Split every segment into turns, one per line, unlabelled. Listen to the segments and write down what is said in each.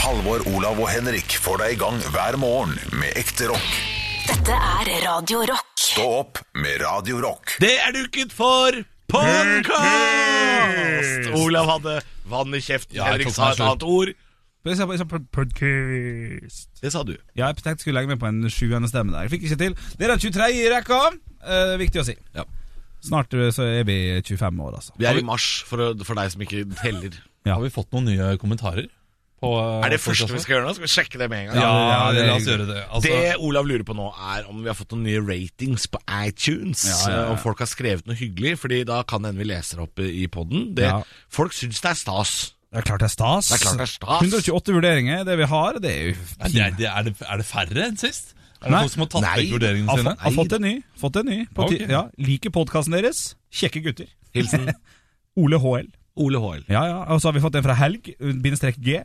Halvor, Olav og Henrik får deg i gang hver morgen med ekte rock.
Dette er Radio Rock.
Stå opp med Radio Rock.
Det er duket for podkast! Olav hadde vann i kjeften.
Ja, jeg
Henrik
tok
sa
meg
et
selv.
annet ord.
Jeg sa, jeg sa pod- podcast.
Det sa du.
Ja, jeg tenkte jeg skulle legge meg på en sjuende stemme der. Jeg fikk ikke til. Det er den 23. i rekka. Eh, viktig å si.
Ja.
Snart eh, så er vi 25 år, altså.
Vi er i mars, for, å- for deg som ikke teller.
Ja.
Har vi fått noen nye kommentarer? På, eh,
Er det første vi skal gjøre nå? Skal vi sjekke det med en gang?
Ja,
Ja, det-
la oss gjøre det. Altså,
Det Olav lurer på nå, er om vi har fått noen nye ratings på iTunes. Om folk har skrevet noe hyggelig, Fordi da kan det hende vi leser opp i poden.
Ja.
Folk syns det er stas.
Det er klart det er stas.
Det er klart det er stas.
128 vurderinger, det vi har, det er jo
er, det, er, det, er, det, er det færre enn sist? Er det
Nei.
folk som har tatt
Nei.
vekk vurderingene
Har,
sine?
fått- har fått en ny. Fått en ny på ti-
Ok.
ja, Liker podkasten deres. Kjekke gutter.
Hilsen
Ole HL.
Ole Hoel.
Ja, ja. Og så har vi fått en fra Helg, bindestrek G.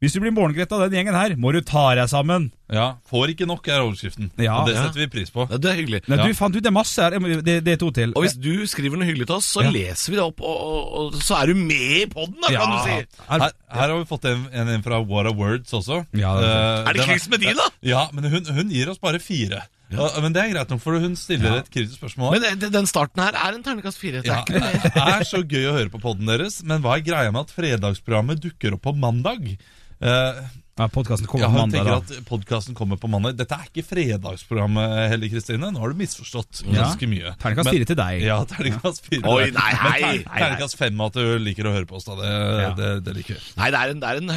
Hvis du blir morgengretten av den gjengen her, må du ta deg sammen.
Ja, Får ikke nok, er overskriften.
Ja.
og det
Ja.
setter vi pris på.
Ja, det er hyggelig.
Nei,
Ja.
du, faen, du, det er masse her. Jeg må- Det, det er to til.
Og hvis du skriver noe hyggelig til oss, så
Ja.
leser vi det opp, og, og, og så er du med i poden, da, kan
Ja.
du si!
Her, her har vi fått en, en, en fra What a Words også.
Ja, det er
Eh,
Er det
den
Chris Medina?
Ja, men hun, hun gir oss bare fire. Ja, men det er greit nok, for hun stiller et kritisk spørsmål.
Men det- det- den starten her er en ternekast fire. Det er
ja,
ikke noe mer.
det er så gøy å høre på podden deres, men hva er greia med at fredagsprogrammet dukker opp på mandag? Eh,
Ja, podkasten kommer
Ja,
på
hun
mandag.
tenker
Da.
at podkasten kommer på mandag. Dette er ikke fredagsprogrammet, Helle Kristine. Nå har du misforstått ganske mye.
Terningkast
Men-
fire til deg.
Ja, terningkast fire.
Oi, nei, hei.
Men ter- Terningkast fem at du liker å høre på oss, da. Det, det, det liker vi.
Nei, det er en, det er en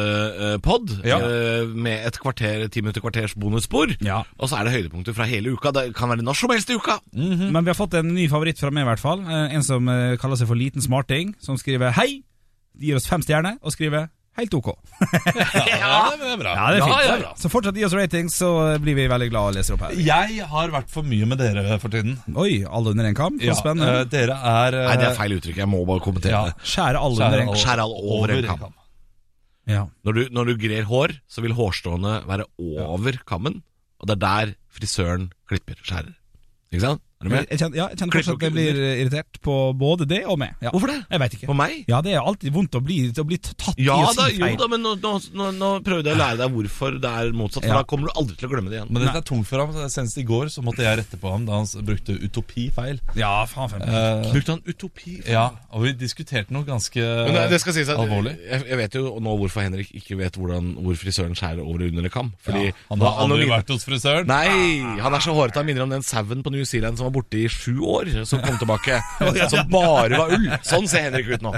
høydepunktspod eh,
Ja.
med et kvarter, ti minutter kvarters bonusspor.
Ja.
Og så er det høydepunkter fra hele uka. Det kan være når som helst i uka.
Men vi har fått en ny favoritt fra meg, i hvert fall. Eh, En som eh, kaller seg for Liten smarting, som skriver hei, gir oss fem stjerner, og skriver helt ok.
Ja, det er bra.
Ja, det er fint.
Ja,
det. så fortsatt gi oss ratings, så blir vi veldig glad og leser opp her.
Jeg har vært for mye med dere for tiden.
Oi, alle under én kam? Så
eh,
spennende.
dere er eh,
Nei, det er feil uttrykk. Jeg må bare kommentere
Ja.
det.
Skjære alle under
skjærer
én
alle-
kam.
Skjærer alle over en kam.
Ja.
Når du, når du grer hår, så vil hårstråene være over kammen. Og det er der frisøren klipper skjærer. Ikke sant? Er du
Jeg,
med?
jeg kjenner, ja, jeg kjenner
Klipp
kanskje at jeg
og
blir eh, irritert på både det og meg. Ja.
Hvorfor det?
Jeg
Eh,
veit ikke.
På meg?
Ja, det er alltid vondt å bli, å bli tatt
Ja
i å
da,
si
jo
feil.
da, men nå, nå, nå, nå prøvde jeg å lære deg hvorfor det er motsatt, for
Ja.
da kommer du aldri til å glemme det igjen.
Men dette er tungt for ham. Senest i går så måtte jeg rette på ham da han s- brukte utopi feil.
Ja, faen for meg.
Eh,
Brukte han utopi?
Ja, og vi diskuterte noe ganske
Men det, det skal sies at
alvorlig.
Jeg, jeg vet jo nå hvorfor Henrik ikke vet hvordan, hvor frisøren skjærer over og under en kam. Fordi
Ja, han
da-
har aldri
anonyme-
vært hos frisøren.
Nei, han er så hårete han minner om den sauen på New Zealand som var borte i sju år, som kom tilbake. Som bare var ull. Sånn ser Henrik ut nå.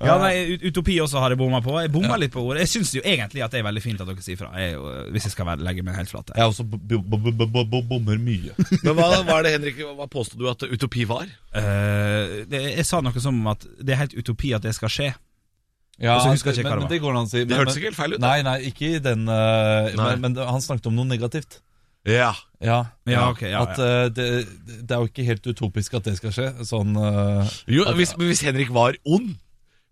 Ja, nei, ut- Utopi også har jeg bomma på. Jeg bomma litt på ordet. Jeg syns jo egentlig at det er veldig fint at dere sier fra, jeg, er jo- hvis jeg skal være, legge meg helt flat. her.
Jeg også bo- bo- bo- bo- bo- bo- bommer mye.
Men hva, hva er det Henrik, hva påstod du at utopi var?
Eh, det, jeg sa noe som om at det er helt utopi at det skal skje.
Ja,
Og så husker jeg ikke hva det
men, men
var.
det går an å si.
Det hørtes ikke helt feil ut, da.
Nei, nei, ikke i den eh,
Nei.
Men, men det- han snakket om noe negativt.
Ja.
Ja,
Ja, ok, ja,
At eh, det, det er jo ikke helt utopisk at det skal skje. Sånn eh,
Jo, hvis, men hvis Henrik var ond,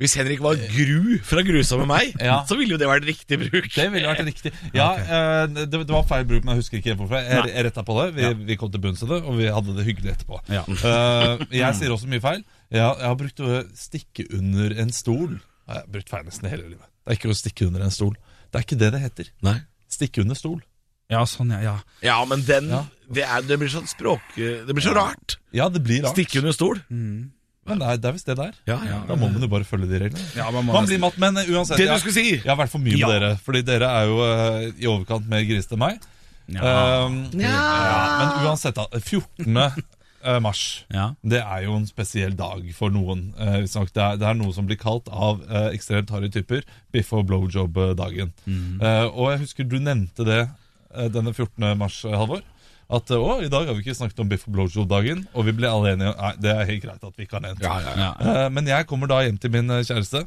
hvis Henrik var gru fra grusomme meg,
Ja.
så ville jo det vært riktig bruk.
Det ville vært riktig. Ja, eh, det, det var feil bruk, men jeg husker ikke helt hvorfor. Jeg, jeg retta på det. Vi, vi kom til bunns i det, og vi hadde det hyggelig etterpå.
Ja.
Eh, jeg sier også mye feil. Jeg, jeg har brukt å stikke under en stol. Jeg har brukt feil nesten hele livet. Det er ikke å stikke under en stol. Det er ikke det det heter.
Nei.
Stikke under stol.
Ja, sånn, ja. ja.
Ja, men den
Ja.
det, er, det blir sånn språk... Det blir så rart.
Ja, det blir rart. Mm.
Stikke under stol.
Men det er, det er visst det det er.
Ja, ja.
Da må man jo bare følge de reglene.
Ja, man må
man
nesten-
blir matt, men uansett
Det du
jeg-
skulle si!
Jeg har vært for mye med
Ja.
dere, fordi dere er jo eh, i overkant mer grisete enn meg.
Ja.
Ehm, men uansett, da. 14. eh, mars.
Ja.
Det er jo en spesiell dag for noen. eh, hvis nok. det, er, det er noe som blir kalt av eh, ekstremt harde typer biff og blowjob-dagen.
Mm.
Eh, og jeg husker du nevnte det eh, denne 14. mars, eh, Halvor. At eh, å, i dag har vi ikke snakket om biff og blowjob-dagen, og vi ble alle enige om Nei, det er helt greit at vi ikke har nevnt det.
Ja, ja, ja.
Eh, Men jeg kommer da hjem til min eh, kjæreste,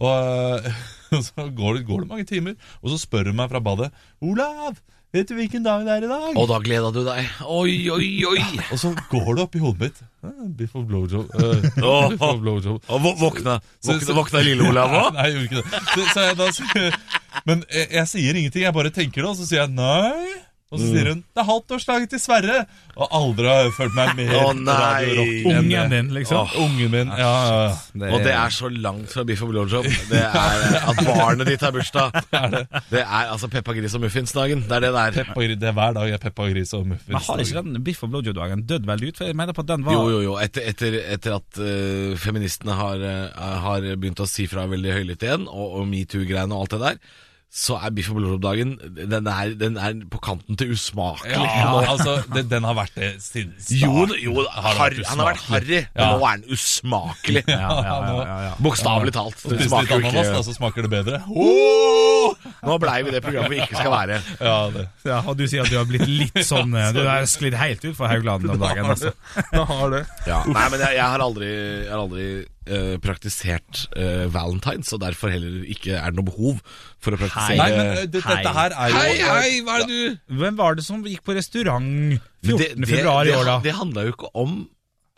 og eh, så går det, går det mange timer. Og så spør hun meg fra badet Olav, vet du hvilken dag det er i dag?
Og da gleda du deg. Oi, oi, oi.
Og så går det opp i hodet mitt. eh, Biff og blowjob. eh, biff og blowjob.
Og vå- våkna
Så-
Våkna,
så-
våkna lille Olav òg?
Nei, jeg gjorde ikke det. Så, så jeg, da, sier- men jeg, jeg sier ingenting, jeg bare tenker det, og så sier jeg nei. Og så sier
Mm.
hun 'Det er halvtårslaget til Sverre'. Og aldri har jeg følt meg mer
Å, nei.
Radio Rock enn det.
Ungen din, liksom.
Åh, Ungen min, ja, ja, ja.
Og det er så langt fra biff og blowjob. Det er eh, at barnet ditt har bursdag. Det er altså Peppa Gris og muffins-dagen. Det er det der.
Peppa Gris, det er hver dag er Peppa Gris og muffins.
Men har ikke den biff og blowjob-dagen dødd veldig ut? For jeg mener på at den var
Jo, jo, jo. Etter, etter, etter at eh, feministene har, eh, har begynt å si fra veldig høylytt igjen, og, og metoo-greiene og alt det der, så er biff og blowjob-dagen den, er- den er på kanten til usmakelig.
Ja,
Nå-
altså, det, den har vært det siden start.
Jo, jo
Har det
harry, han har vært harry,
usmakelig?
men
Ja.
nå er han usmakelig.
nå-
Bokstavelig talt.
Og
Det
spis litt
smaker jo
ananas, da,
ikke
så smaker det bedre. Oh!
Nå blei vi det programmet vi ikke skal være.
Ja, det.
Ja, og du sier at du har blitt litt sånn eh, Du har sklidd helt ut for Haugland om dagen. Altså.
Den har det.
Nei, men jeg, jeg har aldri, jeg har aldri eh, praktisert eh, valentines, og derfor heller ikke er det noe behov for å praktisere
Nei, men eh,
eh,
det, dette her er jo
hva er det du
Hvem var det som gikk på restaurant 14.
det, det,
februar i
det-
år, da?
Det handla jo ikke om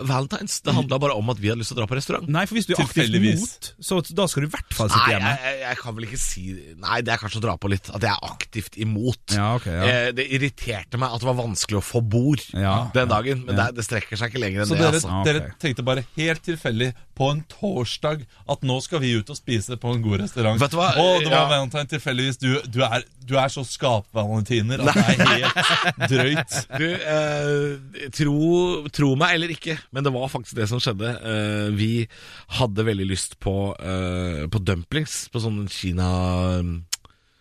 valentines, det handla bare om at vi hadde lyst til å dra på restaurant.
Nei, for hvis du er aktivt
Tilfeldigvis.
mot, så da skal du i hvert fall sitte
Nei,
hjemme.
jeg, jeg, jeg kan vel ikke si Nei, det er kanskje å dra på litt. At jeg er aktivt imot.
Ja, ok, ja.
Eh, det irriterte meg at det var vanskelig å få bord
Ja,
den dagen, men det, det strekker seg ikke lenger enn
Så
det.
dere,
Altså.
Ah,
dere
ok.
tenkte bare helt tilfeldig på en torsdag at nå skal vi ut og spise på en god restaurant.
Vet du hva?
Og det var
Ja.
valentine tilfeldigvis. Du, du, er, du er så skapvalentiner at det er helt drøyt.
Du, eh, tro, tro meg eller ikke, men det var faktisk det som skjedde. Eh, vi hadde veldig lyst på, eh, på dumplings, på sånn Kina...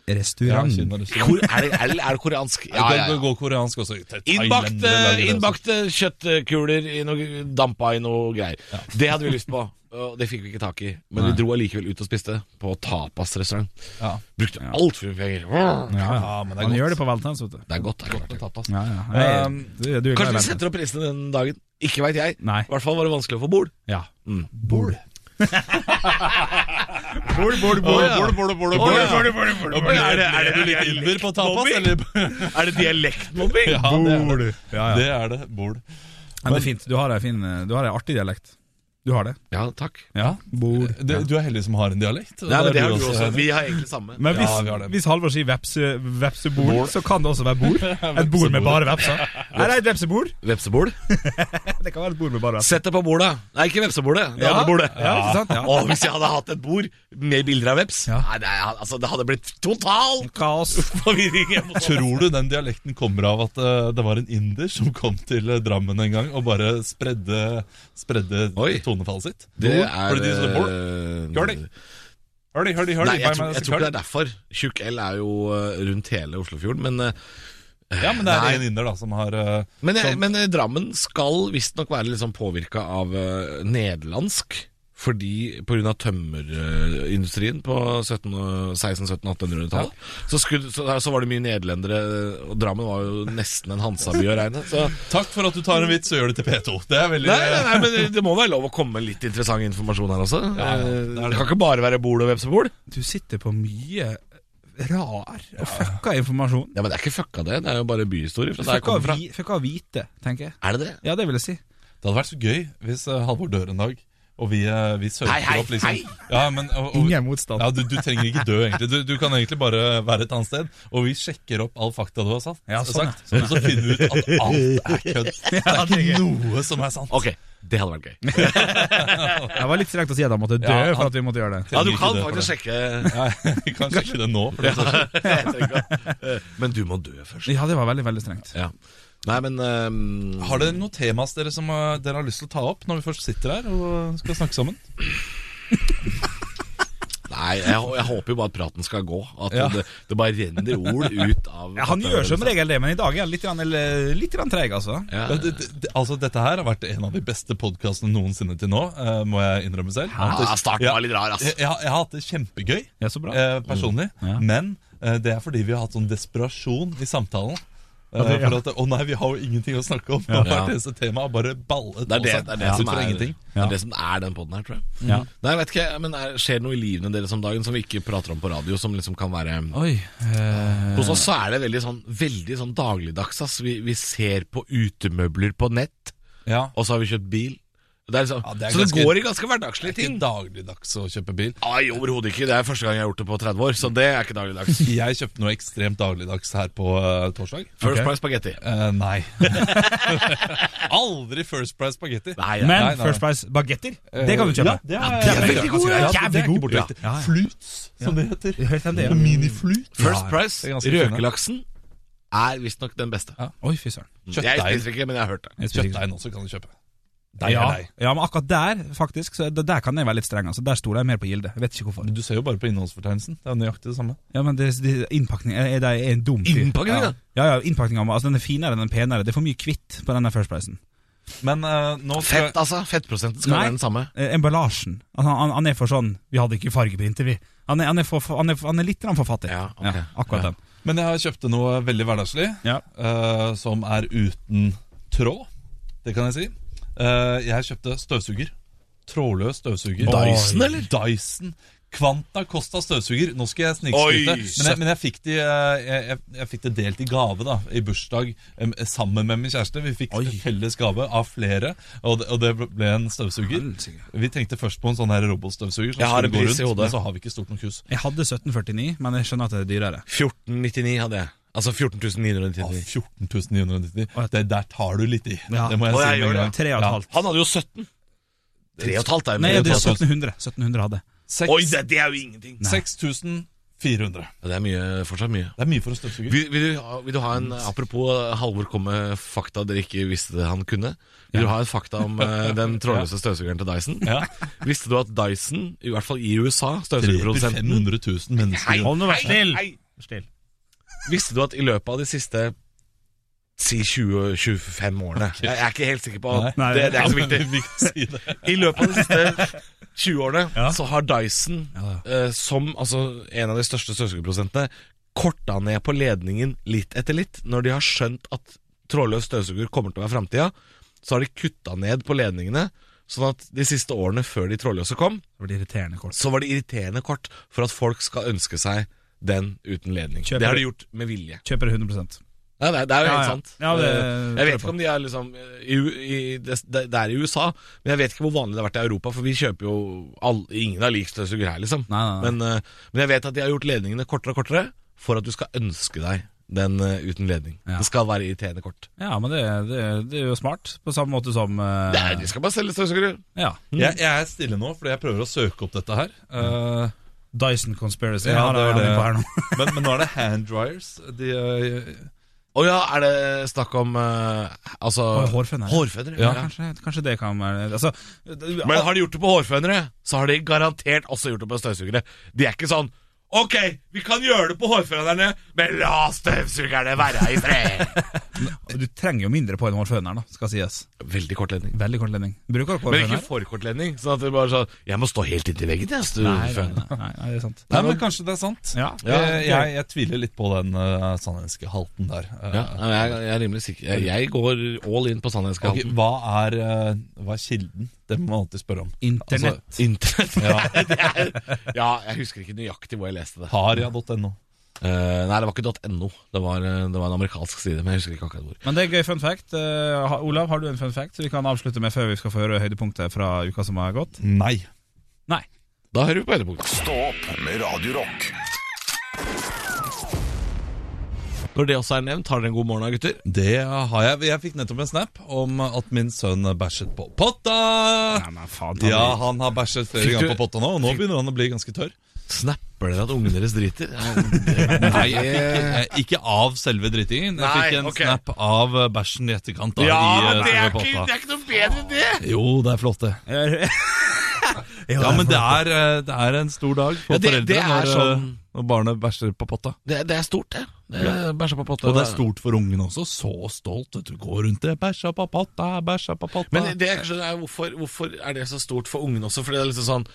Ja,
Restaurant.
Kina, Russland.
Hvor, er, det, er, det- er det koreansk?
Det går- går- går koreansk også.
Innbakt, eh,
Thailand, det lager det også.
innbakt kjøttkuler i noe, dampa i noe greier. Det hadde vi lyst på, og det fikk vi ikke tak i. Men vi dro allikevel ut og spiste på tapasrestaurant.
Ja.
Brukte altfor mye penger.
Ja, ja.
Ja, men det er
Han
godt.
gjør det på valentines, vet du.
Det er godt. Det er klart.
Tapas.
Ja, ja. Nei,
Um,
du, du er glad i
Kanskje vi
valentines.
setter opp prisene den dagen. Ikke veit jeg.
Nei.
I hvert fall var det vanskelig å få bord.
Ja.
Bol.
Bol, bol,
Bol,
bol.
bol, bol, bol, bol. Er det, er det du litt ilver på tapas, eller?
Er det dialektmobbing?
Ja, det er det.
Ja, ja.
Det er det. Bol.
Men det er fint. Du har ei fin eh, Du har ei artig dialekt. Du har det.
Ja, takk.
Ja. Bol.
Du, du er heldig som har en dialekt. og
Nei, men
det
det
er
har du også. Vi har egentlig samme.
Men hvis,
Ja, vi har det.
hvis Halvor sier vepse, vepsebol,
Bol.
så kan det også være bol. Et bol med
Vepsebol.
bare vepser. Nei, det er et vepsebol.
Vepsebol?
Det kan være et bol med bare vepser.
Sett det på bordet. Nei, ikke vepsebordet. Det andre bordet.
Ja, ikke sant? Ja.
Å, hvis jeg hadde hatt et bord med bilder av veps
Ja.
Nei, det, er- altså, det hadde blitt total
Kaos.
forvirring. hjemme hos oss.
Tror du den dialekten kommer av at eh, det var en inder som kom til eh, Drammen en gang og bare spredde, spredde
Oi.
tonefallet sitt?
Det
Bol.
er
Fordi de sa bol.
eh,
Gjør det. Hør de, hør de, hør de.
Nei, jeg, tror,
Hva er det
jeg
som
tror ikke
hør
det er derfor. Tjukk L er jo eh, rundt hele Oslofjorden. Men, eh,
de? Ja, men det
Nei.
er en inder da som har eh,
men, jeg,
Sånn.
men eh, Drammen skal visstnok være liksom påvirka av eh, nederlandsk. Fordi pga. tømmerindustrien på 1600-1700-1800-tallet så, skulle- så, så var det mye nederlendere, eh, og Drammen var jo nesten en Hansaby å regne. Så
Takk for at du tar en vits og gjør det til P2. Det er veldig
Nei, nei, nei, men det- det må være lov å komme med litt interessant informasjon her også.
Ja, ja,
Eh,
det er
det,
det.
kan ikke bare være bol og vepsebol.
Du sitter på mye rar og fucka informasjon.
Ja, men det er ikke fucka det, det er jo bare byhistorie fra der jeg
Fucka
kommer fra.
vi- fucka vite, tenker jeg.
Er det det?
Ja, det vil jeg si.
Det hadde vært så gøy hvis eh, Halvor dør en dag, og vi, eh, vi søker
Hei, hei,
opp liksom
hei!
Ja, men, og, og,
Ingen motstand.
ja, du, du trenger ikke dø, egentlig. Du, du kan egentlig bare være et annet sted, og vi sjekker opp all fakta du har sagt.
Ja, sånn, ja.
sagt og så finner vi ut at alt er kødd. Det er ikke noe som er sant.
Ok, det hadde vært gøy.
Det var litt strengt å si at han måtte dø
Ja,
for at vi måtte gjøre det.
Ja, du
Trenger
kan
ikke dø for
faktisk
det.
sjekke
Nei, vi kan sjekke det nå. For det står ikke.
Jeg tenker, eh, Men du må dø først.
Ja, det var veldig, veldig strengt.
Ja. Nei, men ehm,
Har dere noen temas dere som eh, dere har lyst til å ta opp når vi først sitter her og skal snakke sammen?
Nei, jeg, jeg håper jo bare at praten skal gå. At
Ja.
det, det bare renner ord ut av
Ja,
eh,
han gjør som regel det, men i dag er han litt, grann- eller- litt grann treig, altså.
liksom- Ja.
Ja, det, det, det, altså, dette her har vært en av de beste podkastene noensinne til nå, eh, må jeg innrømme selv.
Ja, starten var litt rar, ass.
Jeg, jeg, har- jeg har hatt det kjempegøy
Ja, så bra.
eh, personlig,
Mm.
Ja.
men eh, det er fordi vi har hatt sånn desperasjon i samtalen. Eh,
det- ja.
For at, Å nei, vi har jo ingenting å snakke om. Og Hvert eneste tema har bare ballet
Det er det,
på seg.
det, er det, som,
Ut fra
er,
ingenting.
det er det som er den poden her, tror jeg.
Ja.
Nei, jeg vet ikke, men er, Skjer det noe i livene deres om dagen som vi ikke prater om på radio, som liksom kan være
Oi. eh,
Hos oss så er det veldig sånn, veldig sånn dagligdags. Ass. Vi, vi ser på utemøbler på nett,
Ja.
og så har vi kjøpt bil. Det er liksom,
Ja, det er
så det
ganske-
går i ganske hverdagslige
Ikke
ting.
dagligdags å kjøpe bil.
Nei, overhodet ikke. Det er første gang jeg har gjort det på 30 år, så det er ikke dagligdags.
Jeg kjøpte noe ekstremt dagligdags her på eh, torsdag.
First
Ok.
Price spagetti.
Eh, nei. Aldri First Price spagetti.
Nei, ja.
Men
nei, nei.
First Price bagetter,
Eh,
det kan du kjøpe.
Ja, det er,
Ja, det er
jævlig
veldig god,
Ja,
jævlig
det er ikke
god.
bortglemt.
Ja, ja, ja.
Flutes, som det heter.
Hørte jeg det, ja.
Miniflut.
First
Ja,
Price,
det er ganske fint,
røkelaksen, er visstnok den beste.
Oi, fy søren.
Jeg
Kjøttdeig.
spiser ikke, men jeg har hørt det.
Jeg spiser ikke-
Kjøttdeigen også kan du kjøpe. Deg
Ja,
er deg.
ja, men akkurat der, faktisk, så det, der kan jeg være litt streng. Altså. Der stoler jeg mer på Gilde. Jeg vet ikke hvorfor.
Men du ser jo bare på innholdsfortegnelsen. Det er nøyaktig det samme.
Ja, men det, det, innpakning er, er, er en dum fyr.
Innpakning,
ja.
ja.
Ja, ja, innpakninga. Altså, den er finere, den er penere. Det er for mye kvitt på denne First Pricen.
Men eh, nå skal
Fett, altså. Fettprosenten skal
Nei.
være den samme.
Eh, emballasjen. Altså, han, han, han er for sånn Vi hadde ikke fargeprinter, vi. Han er, han er, for, for, han er, han er litt grann for fattig.
Ja, ok.
akkurat
Ja.
den.
Men jeg kjøpte noe veldig hverdagslig,
Ja.
eh, som er uten tråd. Det kan jeg si. Eh, jeg kjøpte støvsuger. Trådløs støvsuger.
Dyson,
Oi.
eller?
Dyson. Kvanta Costa støvsuger. Nå skal jeg snikskryte.
Oi,
Men, jeg- men jeg fikk de, eh, jeg, jeg, jeg fikk det delt i gave da i bursdag em, sammen med min kjæreste. Vi fikk felles gave av flere, og det, og det ble en støvsuger. Vi tenkte først på en sånn her robotstøvsuger, som
Jeg har
skulle
en
gå
pris i
rundt,
hodet.
men så har vi ikke stort nok hus.
Jeg hadde 1749, men jeg skjønner at det er dyrere.
1499 hadde jeg. Altså 14.999
Ja, 14.999
Å, ja.
Det der tar du litt i
Ja.
Det må jeg
Å,
si
jeg
med
gjør
en
det.
gang.
Tre og et
Ja.
halvt.
Han hadde jo 17. 3,5 er jo
Nei,
mye.
det er
tar sånn.
1700. 1700 hadde.
Seks-
Oi, det, det er jo ingenting.
6400
Ja, Det er mye, fortsatt mye.
Det er mye for å støvsuge
Vil, vil, du, ha- vil du ha en Apropos Halvor kom med fakta dere ikke visste han kunne. Vil du ha en fakta om eh, den trådløse støvsugeren til Dyson?
ja.
Visste du at Dyson, i hvert fall i USA,
Dreper
støvsugerprodusenten
500 000 mennesker i
Hold nå, vær
hei,
snill!
hei.
Still.
Visste du at i løpet av de siste Si 20-25 årene Jeg er ikke helt sikker på
Nei.
Nei,
det, det er
Ja,
ikke så viktig.
men vi kan si det.
I løpet av de siste 20 årene
Ja.
så har Dyson, eh, som altså, en av de største støvsugerprodusentene, korta ned på ledningen litt etter litt. Når de har skjønt at trådløs støvsuger kommer til å være framtida, så har de kutta ned på ledningene. Sånn at de siste årene før de trådløse kom,
Det blir irriterende kort.
så var det irriterende kort for at folk skal ønske seg den uten ledning.
Kjøper
Det har
du-
de gjort med vilje.
Kjøper det 100
Nei, det, er- det er jo
Ja,
helt
ja.
sant.
Ja, det-
Eh, jeg
tror jeg
vet
på.
ikke om de er liksom eh, i, U- i, det, det er i USA, men jeg vet ikke hvor vanlig det har vært i Europa, for vi kjøper jo all, ingen har lik støvsuger her, liksom.
Nei, nei, nei.
Men, eh, men jeg vet at de har gjort ledningene kortere og kortere for at du skal ønske deg den eh, uten ledning.
Ja.
Det skal være irriterende kort.
Ja, men det, det, det er jo smart, på samme måte som eh,
Nei, de skal bare selge støvsugere.
ja.
jeg, jeg er stille nå Fordi jeg prøver å søke opp dette her Eh,
Dyson Conspiracy.
Ja,
Ja,
det var
det
det.
er på her nå.
men, men nå er det hand dryers De, eh,
Å ja, er det snakk om eh, altså
Å, hårfønere.
hårfønere,
Ja,
ja.
kanskje, kanskje det kan være altså, det-
Men har de gjort det på hårfønere, så har de garantert også gjort det på støvsugere. De er ikke sånn Ok, vi kan gjøre det på hårfønerne, men la støvsugerne være i fred.
Du trenger jo mindre på en hårføner, da, skal sies.
Veldig kort ledning.
Veldig kort ledning. Bruker du
Men ikke
hårføner?
for kort ledning. Sånn at det bare sånn Jeg må stå helt inntil veggen, jeg.
Nei, nei,
støvfønerne.
nei, nei, det er sant.
Nei, men kanskje det er sant
Ja.
Eh, jeg, jeg tviler litt på den uh, sannhenske halten der Eh,
Ja, jeg, jeg er rimelig sikker. Jeg, jeg går all in på
ok,
sannhetskallen.
Hva er eh, Hva er kilden? Det må man alltid spørre om
Internett.
Altså,
Internett.
Ja.
Det er- ja, jeg husker ikke nøyaktig hvor jeg leste det.
Haria.no
Eh, nei, det var ikke .no. Det var, eh, det var en amerikansk side, men jeg husker ikke akkurat hvor.
men det er gøy fun fact. Eh, ha- Olav, har du en fun fact så vi kan avslutte med før vi skal få høre høydepunktet fra uka som har gått?
Nei
Nei.
Da hører vi på høydepunkt.
Stå opp med Radio Rock.
Når det også er nevnt, har dere en god morgen da, gutter?
Det har jeg. Jeg fikk nettopp en snap om at min sønn bæsjet på potta.
Nei, men faen ta
Ja,
det.
han har bæsjet flere
Fikk du-
ganger på potta nå, og nå begynner han å bli ganske tørr.
Snapper dere at ungene deres driter?
Nei, jeg fikk, eh, Ikke av selve drittingen. Jeg
Nei,
fikk en
ok.
snap av eh, bæsjen i etterkant. Da, i, eh, selve potta.
noe bedre enn det!
Jo, det er flott, det.
Jo,
Ja, men
det
det er, eh, det er en stor dag for
Ja, det-
foreldre
det er
når, eh,
sånn-
når barnet bæsjer på potta.
Det, det er stort, det. det er Bæsja på potta.
Og det er stort for ungene også. Så stolt. vet Du går rundt det. Bæsja på potta, bæsja på potta.
Men det jeg ikke skjønner er hvorfor, hvorfor er det så stort for ungene også? Fordi det er liksom sånn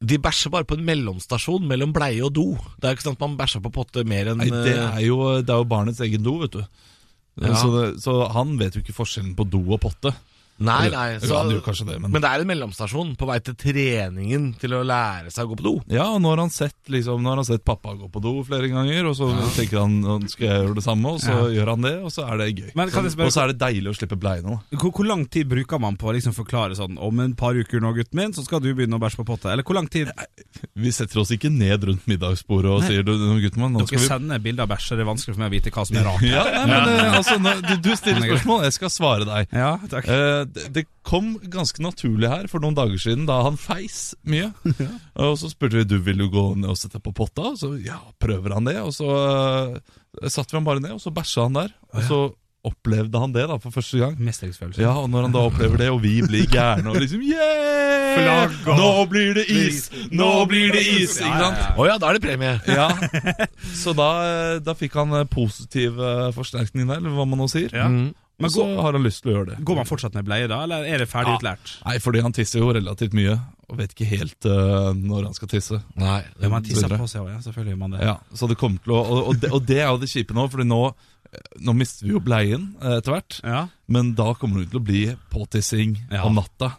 De bæsjer bare på en mellomstasjon mellom bleie og do. Det er jo ikke sånn at man bæsjer på potte mer enn
Nei, det er jo, det er jo barnets egen do, vet du.
Ja.
Så, det, så han vet jo ikke forskjellen på do og potte.
Nei,
Eller,
nei.
jo,
Så,
han gjorde kanskje det, men-
men det er en mellomstasjon på vei til treningen til å lære seg å gå på do.
Ja, og nå har han sett, liksom, nå har han sett pappa gå på do flere ganger, og så tenker han "Nå skal jeg gjøre det samme, og så gjør han det, og så er det gøy.
Men kan jeg spørre-
Og så er det deilig å slippe bleiene. da.
Hvor, hvor lang tid bruker man på å liksom forklare sånn Om en par uker nå, gutten min, så skal du begynne å bæsje på potta? Eller hvor lang tid
Vi setter oss ikke ned rundt middagsbordet og sier du, du, gutten min, nå
Dere
skal vi
sender bilder av bæsj, det er vanskelig for meg å vite hva som er rart.
ja, nei, men, eh, altså, nå- du, du stiller spørsmål, jeg skal svare deg.
Ja, takk.
Eh, det, det kom ganske naturlig her for noen dager siden, da han feis mye. Og så spurte vi du vil du gå ned og sette på potta, og så ja, prøver han det. Og så eh, satte vi han bare ned, og så bæsja han der. Og så opplevde han det da for første gang.
Mestringsfølelse.
Ja, og når han da opplever det, og vi blir gærne og liksom yeah!
Flagg og-
Nå blir det is! Nå blir det is! Ikke sant?
Å ja, da er det premie.
Ja, Så da, da fikk han eh, positiv eh, forsterkning der, eller hva man nå sier.
Mm.
Men
Men
så
gå-
har han lyst til å gjøre det.
Går man fortsatt med bleie da, eller er det ferdig utlært?
Nei, fordi han tisser jo relativt mye, og vet ikke helt eh, når han skal tisse.
Nei,
Ja, man tisser
Videre.
på seg òg, ja. Selvfølgelig gjør man det.
Ja, så det kommer til å Og, og, det, og det er jo det kjipe nå, Fordi nå, eh, nå mister vi jo bleien eh, etter hvert.
Ja.
Men da kommer det til å bli påtissing
Ja.
om natta.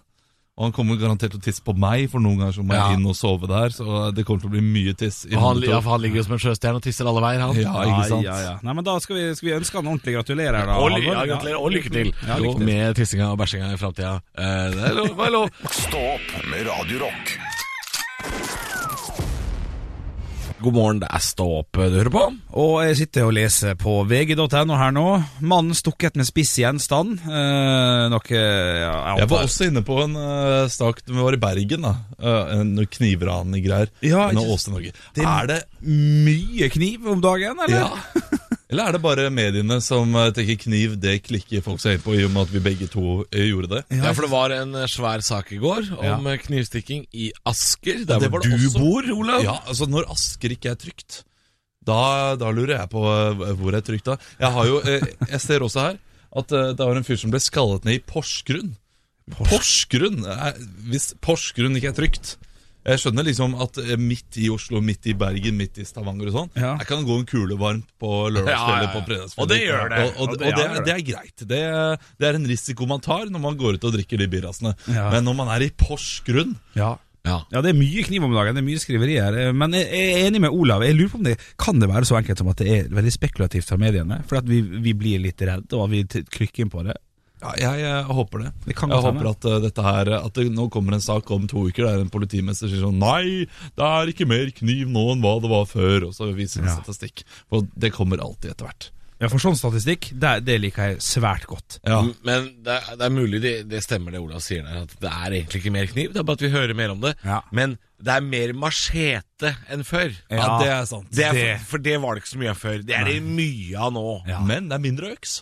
Og han kommer garantert til å tisse på meg, for noen ganger så må jeg
Ja.
inn og sove der. Så det kommer til å bli mye tiss. i
Og han,
natt.
ja, for han ligger jo som en sjøstjerne og tisser alle veier, han.
ja, ikke sant?
Ja, ja. Nei, men da skal vi, skal vi ønske han ordentlig gratulerer. da
Og, ly
Halvor.
ja, gratulerer, og lykke til
Ja, lykke til.
med tissinga og bæsjinga i framtida. Eh, det er lov, det er lov.
Stå opp med Radio Rock.
God morgen, det er Stå opp du hører på.
Og jeg sitter og leser på vg.no her nå. Mannen stukket med spiss gjenstand. Eh, noe ja,
Jeg var
antar-
også inne på en eh, sak da vi var i Bergen, da. Eh, en knivran i greier.
Ja,
en av
ikke-
Åse Norge.
Det-
Er det
mye kniv om dagen, eller?
Ja. Eller er det bare mediene som eh, tenker kniv, det klikker folk seg inn på, i og med at vi begge to eh, gjorde det?
Ja, for det var en eh, svær sak i går om eh, knivstikking i Asker, der
det
hvor
var det
du
også.
bor, Olav.
Ja, altså Når Asker ikke er trygt, da, da lurer jeg på eh, hvor er trygt da. Jeg, har jo, eh, jeg ser også her at eh, det var en fyr som ble skallet ned i Porsgrunn. Porsgrunn? Er, hvis Porsgrunn ikke er trygt Jeg skjønner liksom at eh, midt i Oslo, midt i Bergen, midt i Stavanger og sånn
Ja.
Jeg kan gå en kule varmt på
Ja, ja,
lørdagskvelder
ja.
på fredagskvelder.
Og det gjør det.
Og, og,
Og
og,
det-
det,
ja,
er, det er greit. Det, det er en risiko man tar når man går ut og drikker de birasene.
Ja.
Men når man er i Porsgrunn
Ja.
Ja.
Ja, det er mye kniv om dagen, det er mye skriveri her. eh, Men jeg jeg er enig med Olav. Jeg lurer på om det kan det være så enkelt som at det er veldig spekulativt fra mediene. For at vi, vi blir litt redde, og at vi t- klikker inn på det.
Ja, jeg, eh, håper det.
Det kan
jeg
godt hende.
håper at eh, dette her At det nå kommer en sak om to uker der en politimester sier sånn Nei, det er ikke mer kniv nå enn hva det var før. Og så viser det
Ja.
statistikk. Og det kommer alltid etter hvert.
Ja, For sånn statistikk, det, det liker jeg svært godt.
Ja.
M- Men det er, det er mulig det, det stemmer det Olav sier der, at det er egentlig ikke mer kniv. Det er bare at vi hører mer om det.
Ja.
Men det er mer machete enn før.
ja,
Ja.
det er sant.
Det er,
det-
For, for det var det ikke så mye av før. Det er det mye av nå.
Ja.
Men det er mindre øks.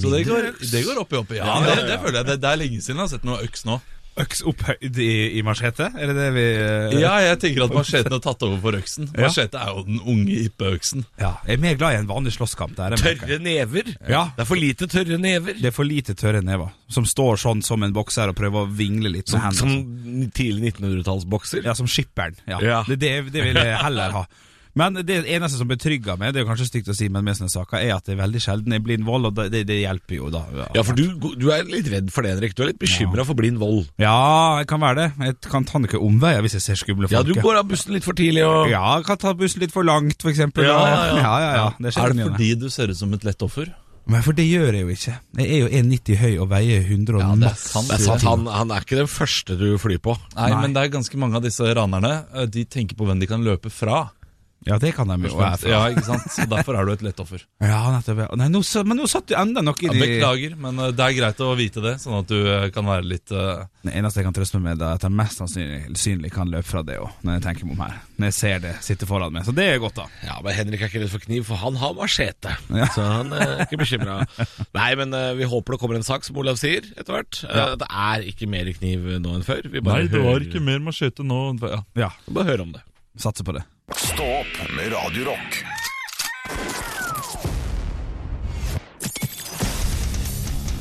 Så det går, det går opp i opp i. Ja, det, det føler jeg. Det, det er lenge siden jeg har sett noe øks nå.
Øks opphøyd i, i machete, er det det vi eh,
Ja, jeg tenker at macheten har tatt over for øksen.
Ja.
Machete er jo den unge hippe-øksen.
ja. Jeg er mer glad i en vanlig slåsskamp. Det er, jeg merker.
Tørre never.
Ja.
Det er for lite tørre never.
det er for lite tørre never, som står sånn som en bokser og prøver å vingle litt med hendene.
Som tidlig 1900-tallsbokser.
Ja, som skipperen. Ja.
Ja.
Det, det, det vil jeg heller ha. Men det eneste som betrygger meg, det er jo kanskje stygt å si, men med sånne saker, er at det er veldig sjelden er blind vold, og det, det, det hjelper jo da.
Ja, for du, du er litt redd for det, Henrik. Du er litt bekymra for blind vold.
Ja, jeg kan være det. Jeg kan ta noen omveier hvis jeg ser skumle
Ja,
folk.
du går av bussen litt for tidlig og
Ja, jeg kan ta bussen litt for langt, for eksempel.
Ja, ja, ja.
ja, ja, ja. Det skjer
Er det
mye,
fordi du ser ut som et lett offer?
Men for det gjør jeg jo ikke. Jeg er jo 1,90 høy og veier 100 og
Ja, det er
maks.
sant.
Det er sant, han, han er ikke den første du flyr på.
Nei, men det er ganske mange av disse ranerne. eh, De tenker på hvem de kan løpe fra.
Ja, det kan de jo. Og jeg er fra-
Ja, ikke sant? Så derfor er du et lettoffer.
Ja, nettopp. ja. Nei, nå, sa- men nå satt du enda noe i
Ja,
de-
beklager, men eh, det er greit å vite det, sånn at du eh, kan være litt eh,
Det eneste jeg kan trøste meg med, er at jeg mest sannsynlig synlig kan løpe fra det òg, når jeg tenker meg om her. Når jeg ser det sitte foran meg. Så det er godt, da.
Ja, men Henrik er ikke redd for kniv, for han har machete. Så han eh, er ikke bekymra. Nei, men eh, vi håper det kommer en sak, som Olav sier, etter hvert. Eh, Det er ikke mer kniv nå enn før. Vi bare, hører,
mer machete nå. Ja.
Ja,
bare hører om det.
satser på det.
Stå opp med Radio Rock.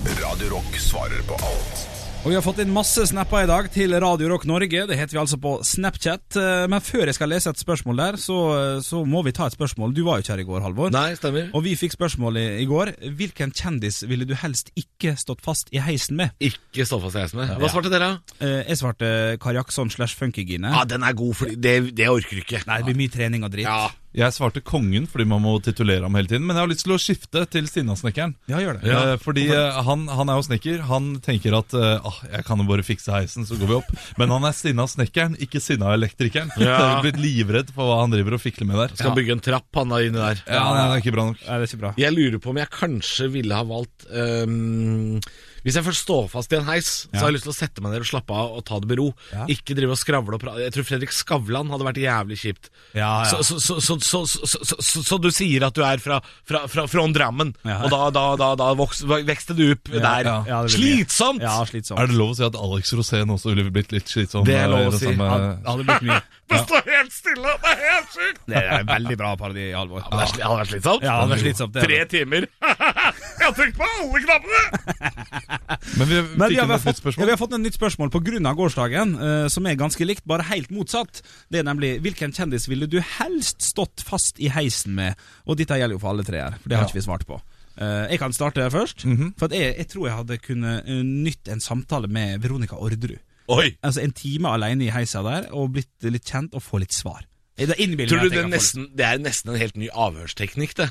Radio Rock svarer på alt.
Og vi har fått inn masse snapper i dag til Radio Rock Norge. Det heter vi altså på Snapchat. Eh, Men før jeg skal lese et spørsmål der, så, eh, så må vi ta et spørsmål. Du var jo ikke her i går, Halvor.
Nei, stemmer.
Og vi fikk spørsmål i, i går. Hvilken kjendis ville du helst ikke stått fast i heisen med?
Ikke stå fast i heisen med. Hva svarte dere? da?
Eh, Jeg svarte Kari Jackson slash Funkygine.
Ja, den er god, for det, det orker du ikke.
Nei, det blir mye trening og dritt.
Ja.
Jeg svarte kongen fordi man må titulere ham hele tiden. Men jeg har lyst til å skifte til Stinasnekkeren.
Ja, gjør det.
Eh, fordi eh, han, han er jo snekker. Han tenker at eh, ah, jeg kan jo bare fikse heisen, så går vi opp. Men han er sinna snekkeren, ikke sinna elektrikeren. Så jeg
Ja.
er blitt livredd for hva han driver og fikler med der.
Skal bygge en trapp, han da, inni der.
Ja, nei, det er ikke bra nok.
Nei, det er ikke bra.
Jeg lurer på om jeg kanskje ville ha valgt øhm, Hvis jeg først står fast i en heis, så har jeg lyst til å sette meg ned og slappe av og ta det med ro.
Ja.
Ikke drive og skravle og prate. Jeg tror Fredrik Skavlan hadde vært jævlig kjipt.
Ja, ja.
Så, så, så, så, så, så, så, så, så du sier at du er fra, fra, fra, fra Drammen,
Ja.
og da, da, da, da voks, vokste du opp der.
ja.
Ja, det blir mye.
Slitsomt!
Ja, slitsomt.
Er det lov å si at Alex Rosén også ville blitt litt slitsom?
Det er lov
eh,
å si.
samme-
Ja, det hadde blitt mye.
Det står helt stille, det er helt sjukt!
Det er en veldig bra parodi, Halvor.
Det er sli- hadde vært slitsomt?
Ja, det hadde vært slitsomt, det
Tre timer. jeg har trykt på alle knappene!
Men
Men vi
vi
fikk
har, vi, har
inn et nytt
fått, ja,
spørsmål.
vi har fått en nytt spørsmål på grunn av gårsdagen, eh, som er ganske likt, bare helt motsatt. Det er nemlig hvilken kjendis ville du helst stått fast i heisen med? Og dette gjelder jo for alle tre her, for det har
Ja.
ikke vi svart på. Eh, jeg kan starte først. For at jeg, jeg tror jeg hadde kunnet eh, nytt en samtale med Veronica Orderud.
Oi!
Altså en time alene i heisa der, og blitt litt kjent og få litt svar. Det er innbilningen
Tror du
at jeg
det,
kan
er
få
nesten, det er nesten en helt ny avhørsteknikk, det.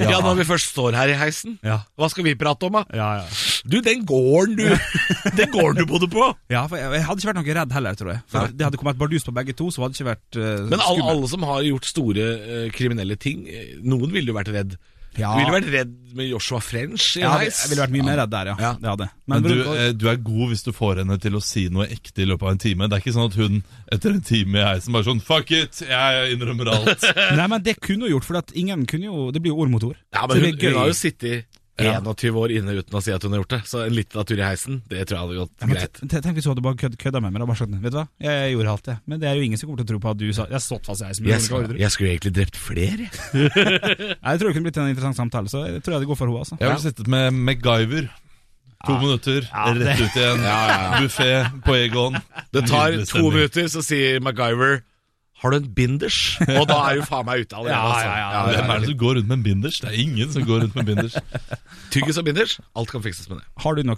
ja. når vi først står her i heisen.
Ja.
Hva skal vi prate om, da?
litt- Ja, ja.
Du, den gården du Den gården du bodde på!
ja, for jeg, jeg hadde ikke vært noe redd heller, tror jeg. For det hadde kommet bardus på begge to, så hadde det ikke vært eh,
Men alle,
skummelt.
alle som har gjort store eh, kriminelle ting, eh, noen ville jo vært redd.
Ja.
Du ville vært redd med Joshua French i
Ah. Ja,
en
jeg,
heis.
jeg ville vært mye mer redd der, ja.
Ja.
Det hadde. jeg.
Men du,
Veronica-
eh, du er god hvis du får henne til å si noe ekte i løpet av en time. Det er ikke sånn at hun etter en time i heisen bare sånn Fuck it, jeg innrømmer alt.
Nei, men det kunne hun gjort, for at ingen kunne jo Det blir jo ord mot ord.
ja,
Så
men
det
hun,
blir gøy.
hun har jo sittet 21 år inne uten å si at hun har gjort det, så en liten tur i heisen, det tror jeg hadde gått
Ja, men
greit.
te- Tenk hvis hun hadde bare kødd, kødda med meg. Og bare sagt, vet du hva, jeg, gjorde alt det. Men det er jo ingen som kommer til å tro på at du sa Jeg satt fast i ei som
Jeg,
gjorde noe ordre.
skulle- jeg skulle egentlig drept flere, jeg.
Nei, Jeg tror det kunne blitt en interessant samtale, så jeg tror jeg det går for henne, altså.
Jeg ville sittet med MacGyver. To minutter, rett ut igjen. Buffé på Egon.
Det tar
Nydelig
to
stemning.
minutter, så sier MacGyver Har du en binders? Og da er jo faen meg ute allerede.
Ja,
altså.
ja, ja.
Hvem er det som går rundt med en binders? Det er ingen som går rundt med en binders.
Tyggis og binders, alt kan fikses med det.
Har du noe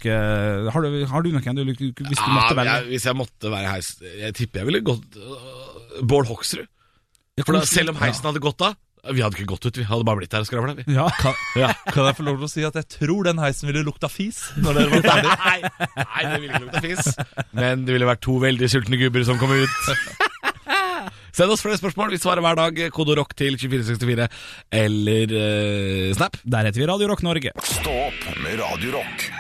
Har du, har du noe enn du lik- hvis du måtte
Ja,
velge?
Ah, jeg, hvis jeg måtte være heis Jeg tipper jeg ville gått øh, Bård Hoksrud. For da, selv om heisen hadde gått av Vi hadde ikke gått ut, vi hadde bare blitt der og skravla. vi.
Ja.
Kan, kan jeg få lov til å si at jeg tror den heisen ville lukta fis når dere var ferdige?
Nei, nei, det ville ikke lukta fis. Men det ville vært to veldig sultne gubber som kom ut. Send oss flere spørsmål. Vi svarer hver dag. Kode rock til 2464 eller eh, Snap.
Der heter vi Radio Rock Norge.
Stå opp med Radio Rock.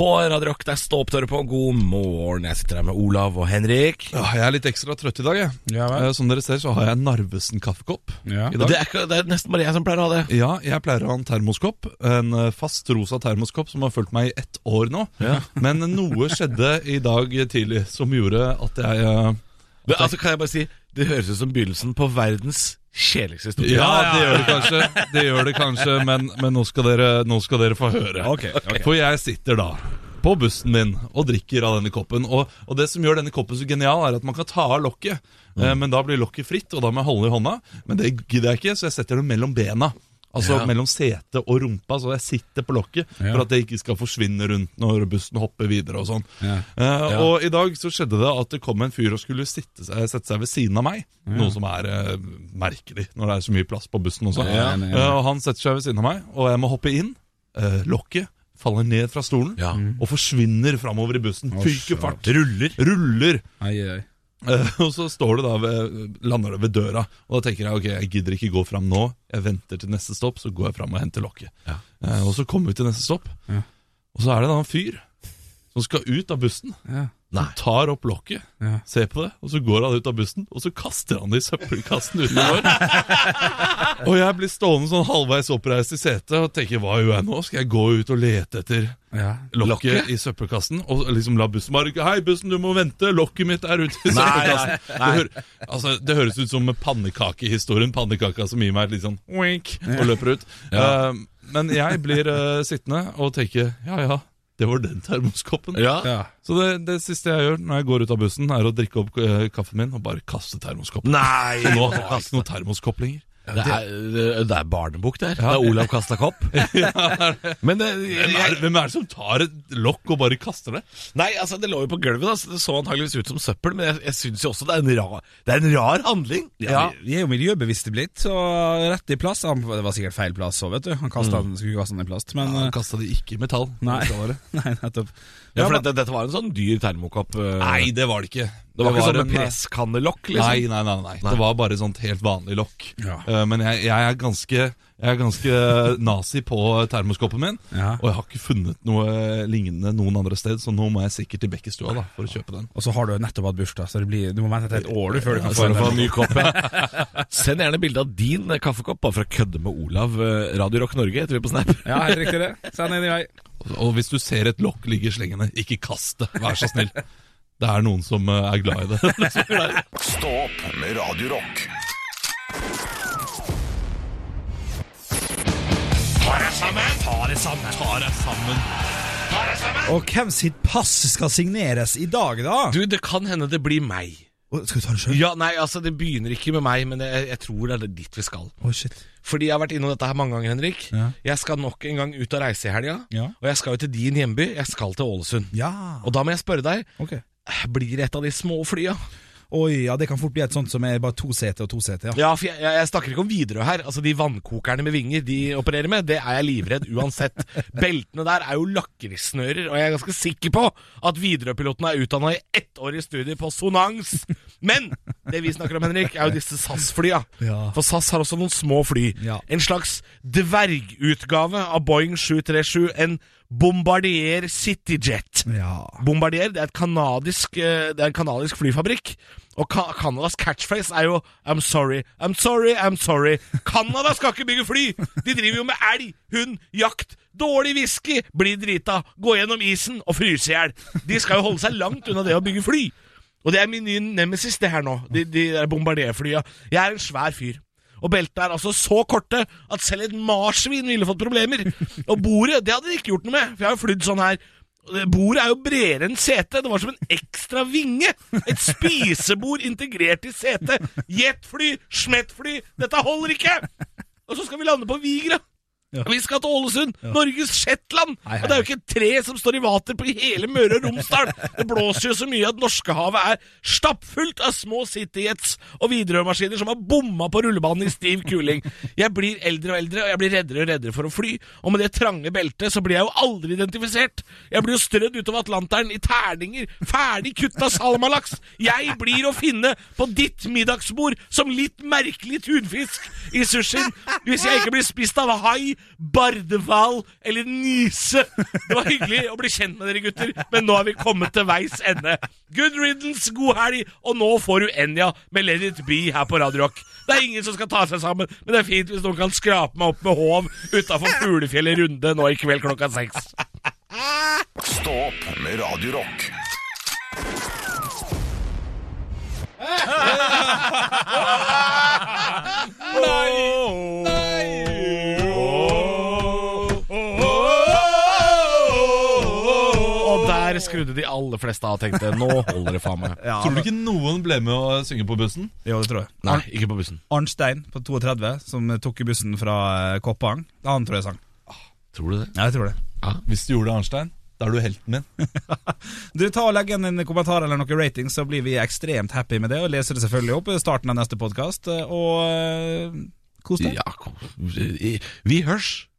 På Radio Rock, der står opptøret på. God morgen. Jeg sitter her med Olav og Henrik.
Ja, jeg er litt ekstra trøtt i dag, jeg.
Ja vel.
Eh, Som dere ser, så har jeg en Narvesen-kaffekopp
Ja.
i dag.
Det er, ikke- det er nesten bare jeg som pleier å ha det.
Ja, jeg pleier å ha en termoskopp. En eh, fast rosa termoskopp som har fulgt meg i ett år nå. Men noe skjedde i dag tidlig som gjorde at jeg eh,
Det, altså kan jeg bare si Det høres ut som begynnelsen på verdens kjedeligste historie.
Ja, det gjør det kanskje, det gjør det kanskje men, men nå, skal dere, nå skal dere få høre.
Ok, ok.
For jeg sitter da på bussen min og drikker av denne koppen. Og, og det som gjør denne koppen så genial, er at man kan ta av lokket. Eh, men da blir lokket fritt, og da må jeg holde i hånda. Men det gidder jeg ikke, så jeg setter det mellom bena. Altså
Ja.
mellom setet og rumpa, så jeg sitter på lokket
Ja.
for at det ikke skal forsvinne rundt når bussen hopper videre og sånn.
Ja.
Eh,
Ja.
Og i dag så skjedde det at det kom en fyr og skulle sitte, seg- sette seg ved siden av meg. Noe som er eh, merkelig når det er så mye plass på bussen også.
Ja, ja, ja.
Eh, og han setter seg ved siden av meg, og jeg må hoppe inn. Eh, lokket faller ned fra stolen
Ja.
og forsvinner framover i bussen.
Å,
Fyker
shit.
fart. Ruller. Ruller.
Ai, ai.
Eh, og så står det da ved, lander det ved døra, og da tenker jeg ok, jeg gidder ikke gå fram nå. Jeg venter til neste stopp, så går jeg fram og henter lokket.
Ja.
Eh, og så kommer vi til neste stopp,
Ja.
og så er det da en fyr som skal ut av bussen.
Ja.
Nei.
Han tar opp lokket,
Ja.
ser på det, og så går han ut av bussen, og så kaster han det i søppelkassen utenfor. og jeg blir stående sånn halvveis oppreist i setet og tenker hva gjør jeg nå? Skal jeg gå ut og lete etter
Ja.
lokket, i søppelkassen? Og liksom la bussen bare Hei, bussen, du må vente, lokket mitt er ute i søppelkassen. Det, hører- altså, det høres ut som pannekakehistorien. Pannekaka som gir meg et litt sånn wink og løper ut. Eh, men jeg blir eh, sittende og tenker ja ja, det var den termoskoppen.
Ja.
Ja.
Så det, det siste jeg gjør når jeg går ut av bussen, er å drikke opp eh, kaffen min og bare kaste termoskoppen.
Nei!
Så nå har jeg ikke noen termoskopp lenger.
Det er, det er barnebok der. Det er Olav kasta kopp. Men det,
Hvem er, hvem er det som tar et lokk og bare kaster det?
Nei, altså det lå jo på gulvet, da, så det så antageligvis ut som søppel. Men jeg, jeg syns jo også det er en rar, det er en rar handling.
Ja, vi- vi er jo miljøbevisste blitt, så rett i plass Han- Det var sikkert feil plass òg, vet du. Han kastet, den- skulle ikke kaste den i plast, men eh,
kasta det ikke i metall.
Nei, nei nettopp.
Ja, for
men-
dette, dette var en sånn dyr termokopp. eh,
Nei, det var det ikke.
det var ikke sånn med
en, eh,
presskannelokk,
Nei,
liksom.
nei, nei, nei. Det var bare et sånt helt vanlig lokk.
Ja.
Eh, men jeg, jeg er ganske jeg er ganske nazi på termoskoppen min,
Ja.
og jeg har ikke funnet noe lignende noen andre sted, så nå må jeg sikkert til Bekkestua da, for å kjøpe den.
Og så har du jo nettopp hatt bursdag, så det blir, du må vente et helt år du, før du kan få
For å få
en
en ny kopp, ja. Send gjerne bilde av din eh, kaffekopp, bare for å kødde med Olav. eh, Radio Rock Norge heter vi på Snap.
Ja, helt riktig det. Send den i vei.
Og- Og hvis du ser et lokk ligge i slengene, ikke kast det, vær så snill. Det er noen som eh, er glad i det.
Stå opp med Radio Rock.
Og hvem sitt pass skal signeres i dag, da?
Du, det kan hende det blir meg.
Å, skal vi ta det sjøl?
Ja, nei, altså Det begynner ikke med meg, men jeg, jeg tror det er dit vi skal.
Å, shit.
Fordi jeg har vært innom dette her mange ganger, Henrik.
Ja.
Jeg skal nok en gang ut og reise i helga.
Ja.
Og jeg skal jo til din hjemby. Jeg skal til Ålesund.
Ja.
Og da må jeg spørre deg,
Ok.
blir det et av de små flya?
Oi, ja, det kan fort bli et sånt som er bare to seter og to seter, ja.
Ja, for jeg, jeg, jeg snakker ikke om Widerøe her. Altså De vannkokerne med vinger de opererer med, det er jeg livredd uansett. Beltene der er jo lakrissnører, og jeg er ganske sikker på at Widerøe-piloten er utdanna i ett år i studier på Sonans. Men det vi snakker om, Henrik, er jo disse SAS-flya.
Ja.
For SAS har også noen små fly.
Ja.
En slags dvergutgave av Boeing 737. En Bombardier Cityjet.
Ja.
Bombardier det er, et kanadisk, eh, det er en kanadisk flyfabrikk. Og Ka- Canadas catchphrase er jo 'I'm sorry, I'm sorry, I'm sorry'. Canada skal ikke bygge fly! De driver jo med elg, hund, jakt, dårlig whisky, bli drita, gå gjennom isen og fryse i hjel. De skal jo holde seg langt unna det å bygge fly. Og det er min nye nemesis, det her nå. De, de der bombardierflya. Jeg er en svær fyr. Og beltene er altså så korte at selv et marsvin ville fått problemer. Og bordet det hadde de ikke gjort noe med, for jeg har jo flydd sånn her. Og det- Bordet er jo bredere enn setet. Det var som en ekstra vinge. Et spisebord integrert i setet. Jetfly, smettfly. Dette holder ikke! Og så skal vi lande på Vigra. Vi skal til Ålesund, Norges Shetland.
Hei,
Og
hei.
det er jo ikke et tre som står i vater på hele Møre og Romsdal. Det blåser jo så mye at Norskehavet er stappfullt av små cityjets og Widerøe-maskiner som har bomma på rullebanen i stiv kuling. Jeg blir eldre og eldre, og jeg blir reddere og reddere for å fly. Og med det trange beltet så blir jeg jo aldri identifisert. Jeg blir jo strødd utover Atlanteren i terninger, ferdig kutta salmalaks. Jeg blir å finne på ditt middagsbord som litt merkelig tunfisk i sushien hvis jeg ikke blir spist av hai, bardehval eller nise. Det var hyggelig å bli kjent med dere, gutter, men nå har vi kommet til veis ende. Good riddance, god helg, og nå får du Enja med Let it be her på Radio Rock. Det er ingen som skal ta seg sammen, men det er fint hvis noen kan skrape meg opp med håv utafor Fuglefjellet Runde nå i kveld klokka seks.
Stå opp med Radio Rock.
Og der skrudde de aller fleste av og tenkte nå holder det faen meg.
Tror du ikke noen ble med å synge på bussen?
Jo, det tror jeg.
Nei, Ah, ikke på bussen.
Arnstein på 32, som tok i bussen fra eh, Koppang, han tror jeg sang.
Tror du det?
Ja, jeg tror det.
Hvis du gjorde det, Arnstein, da er du helten min.
Du, ta og Legg igjen en kommentar eller noen ratings, så blir vi ekstremt happy med det. Og leser det selvfølgelig opp i starten av neste podkast. Og øh, kos deg.
Ja, kom. Vi- vi hørs.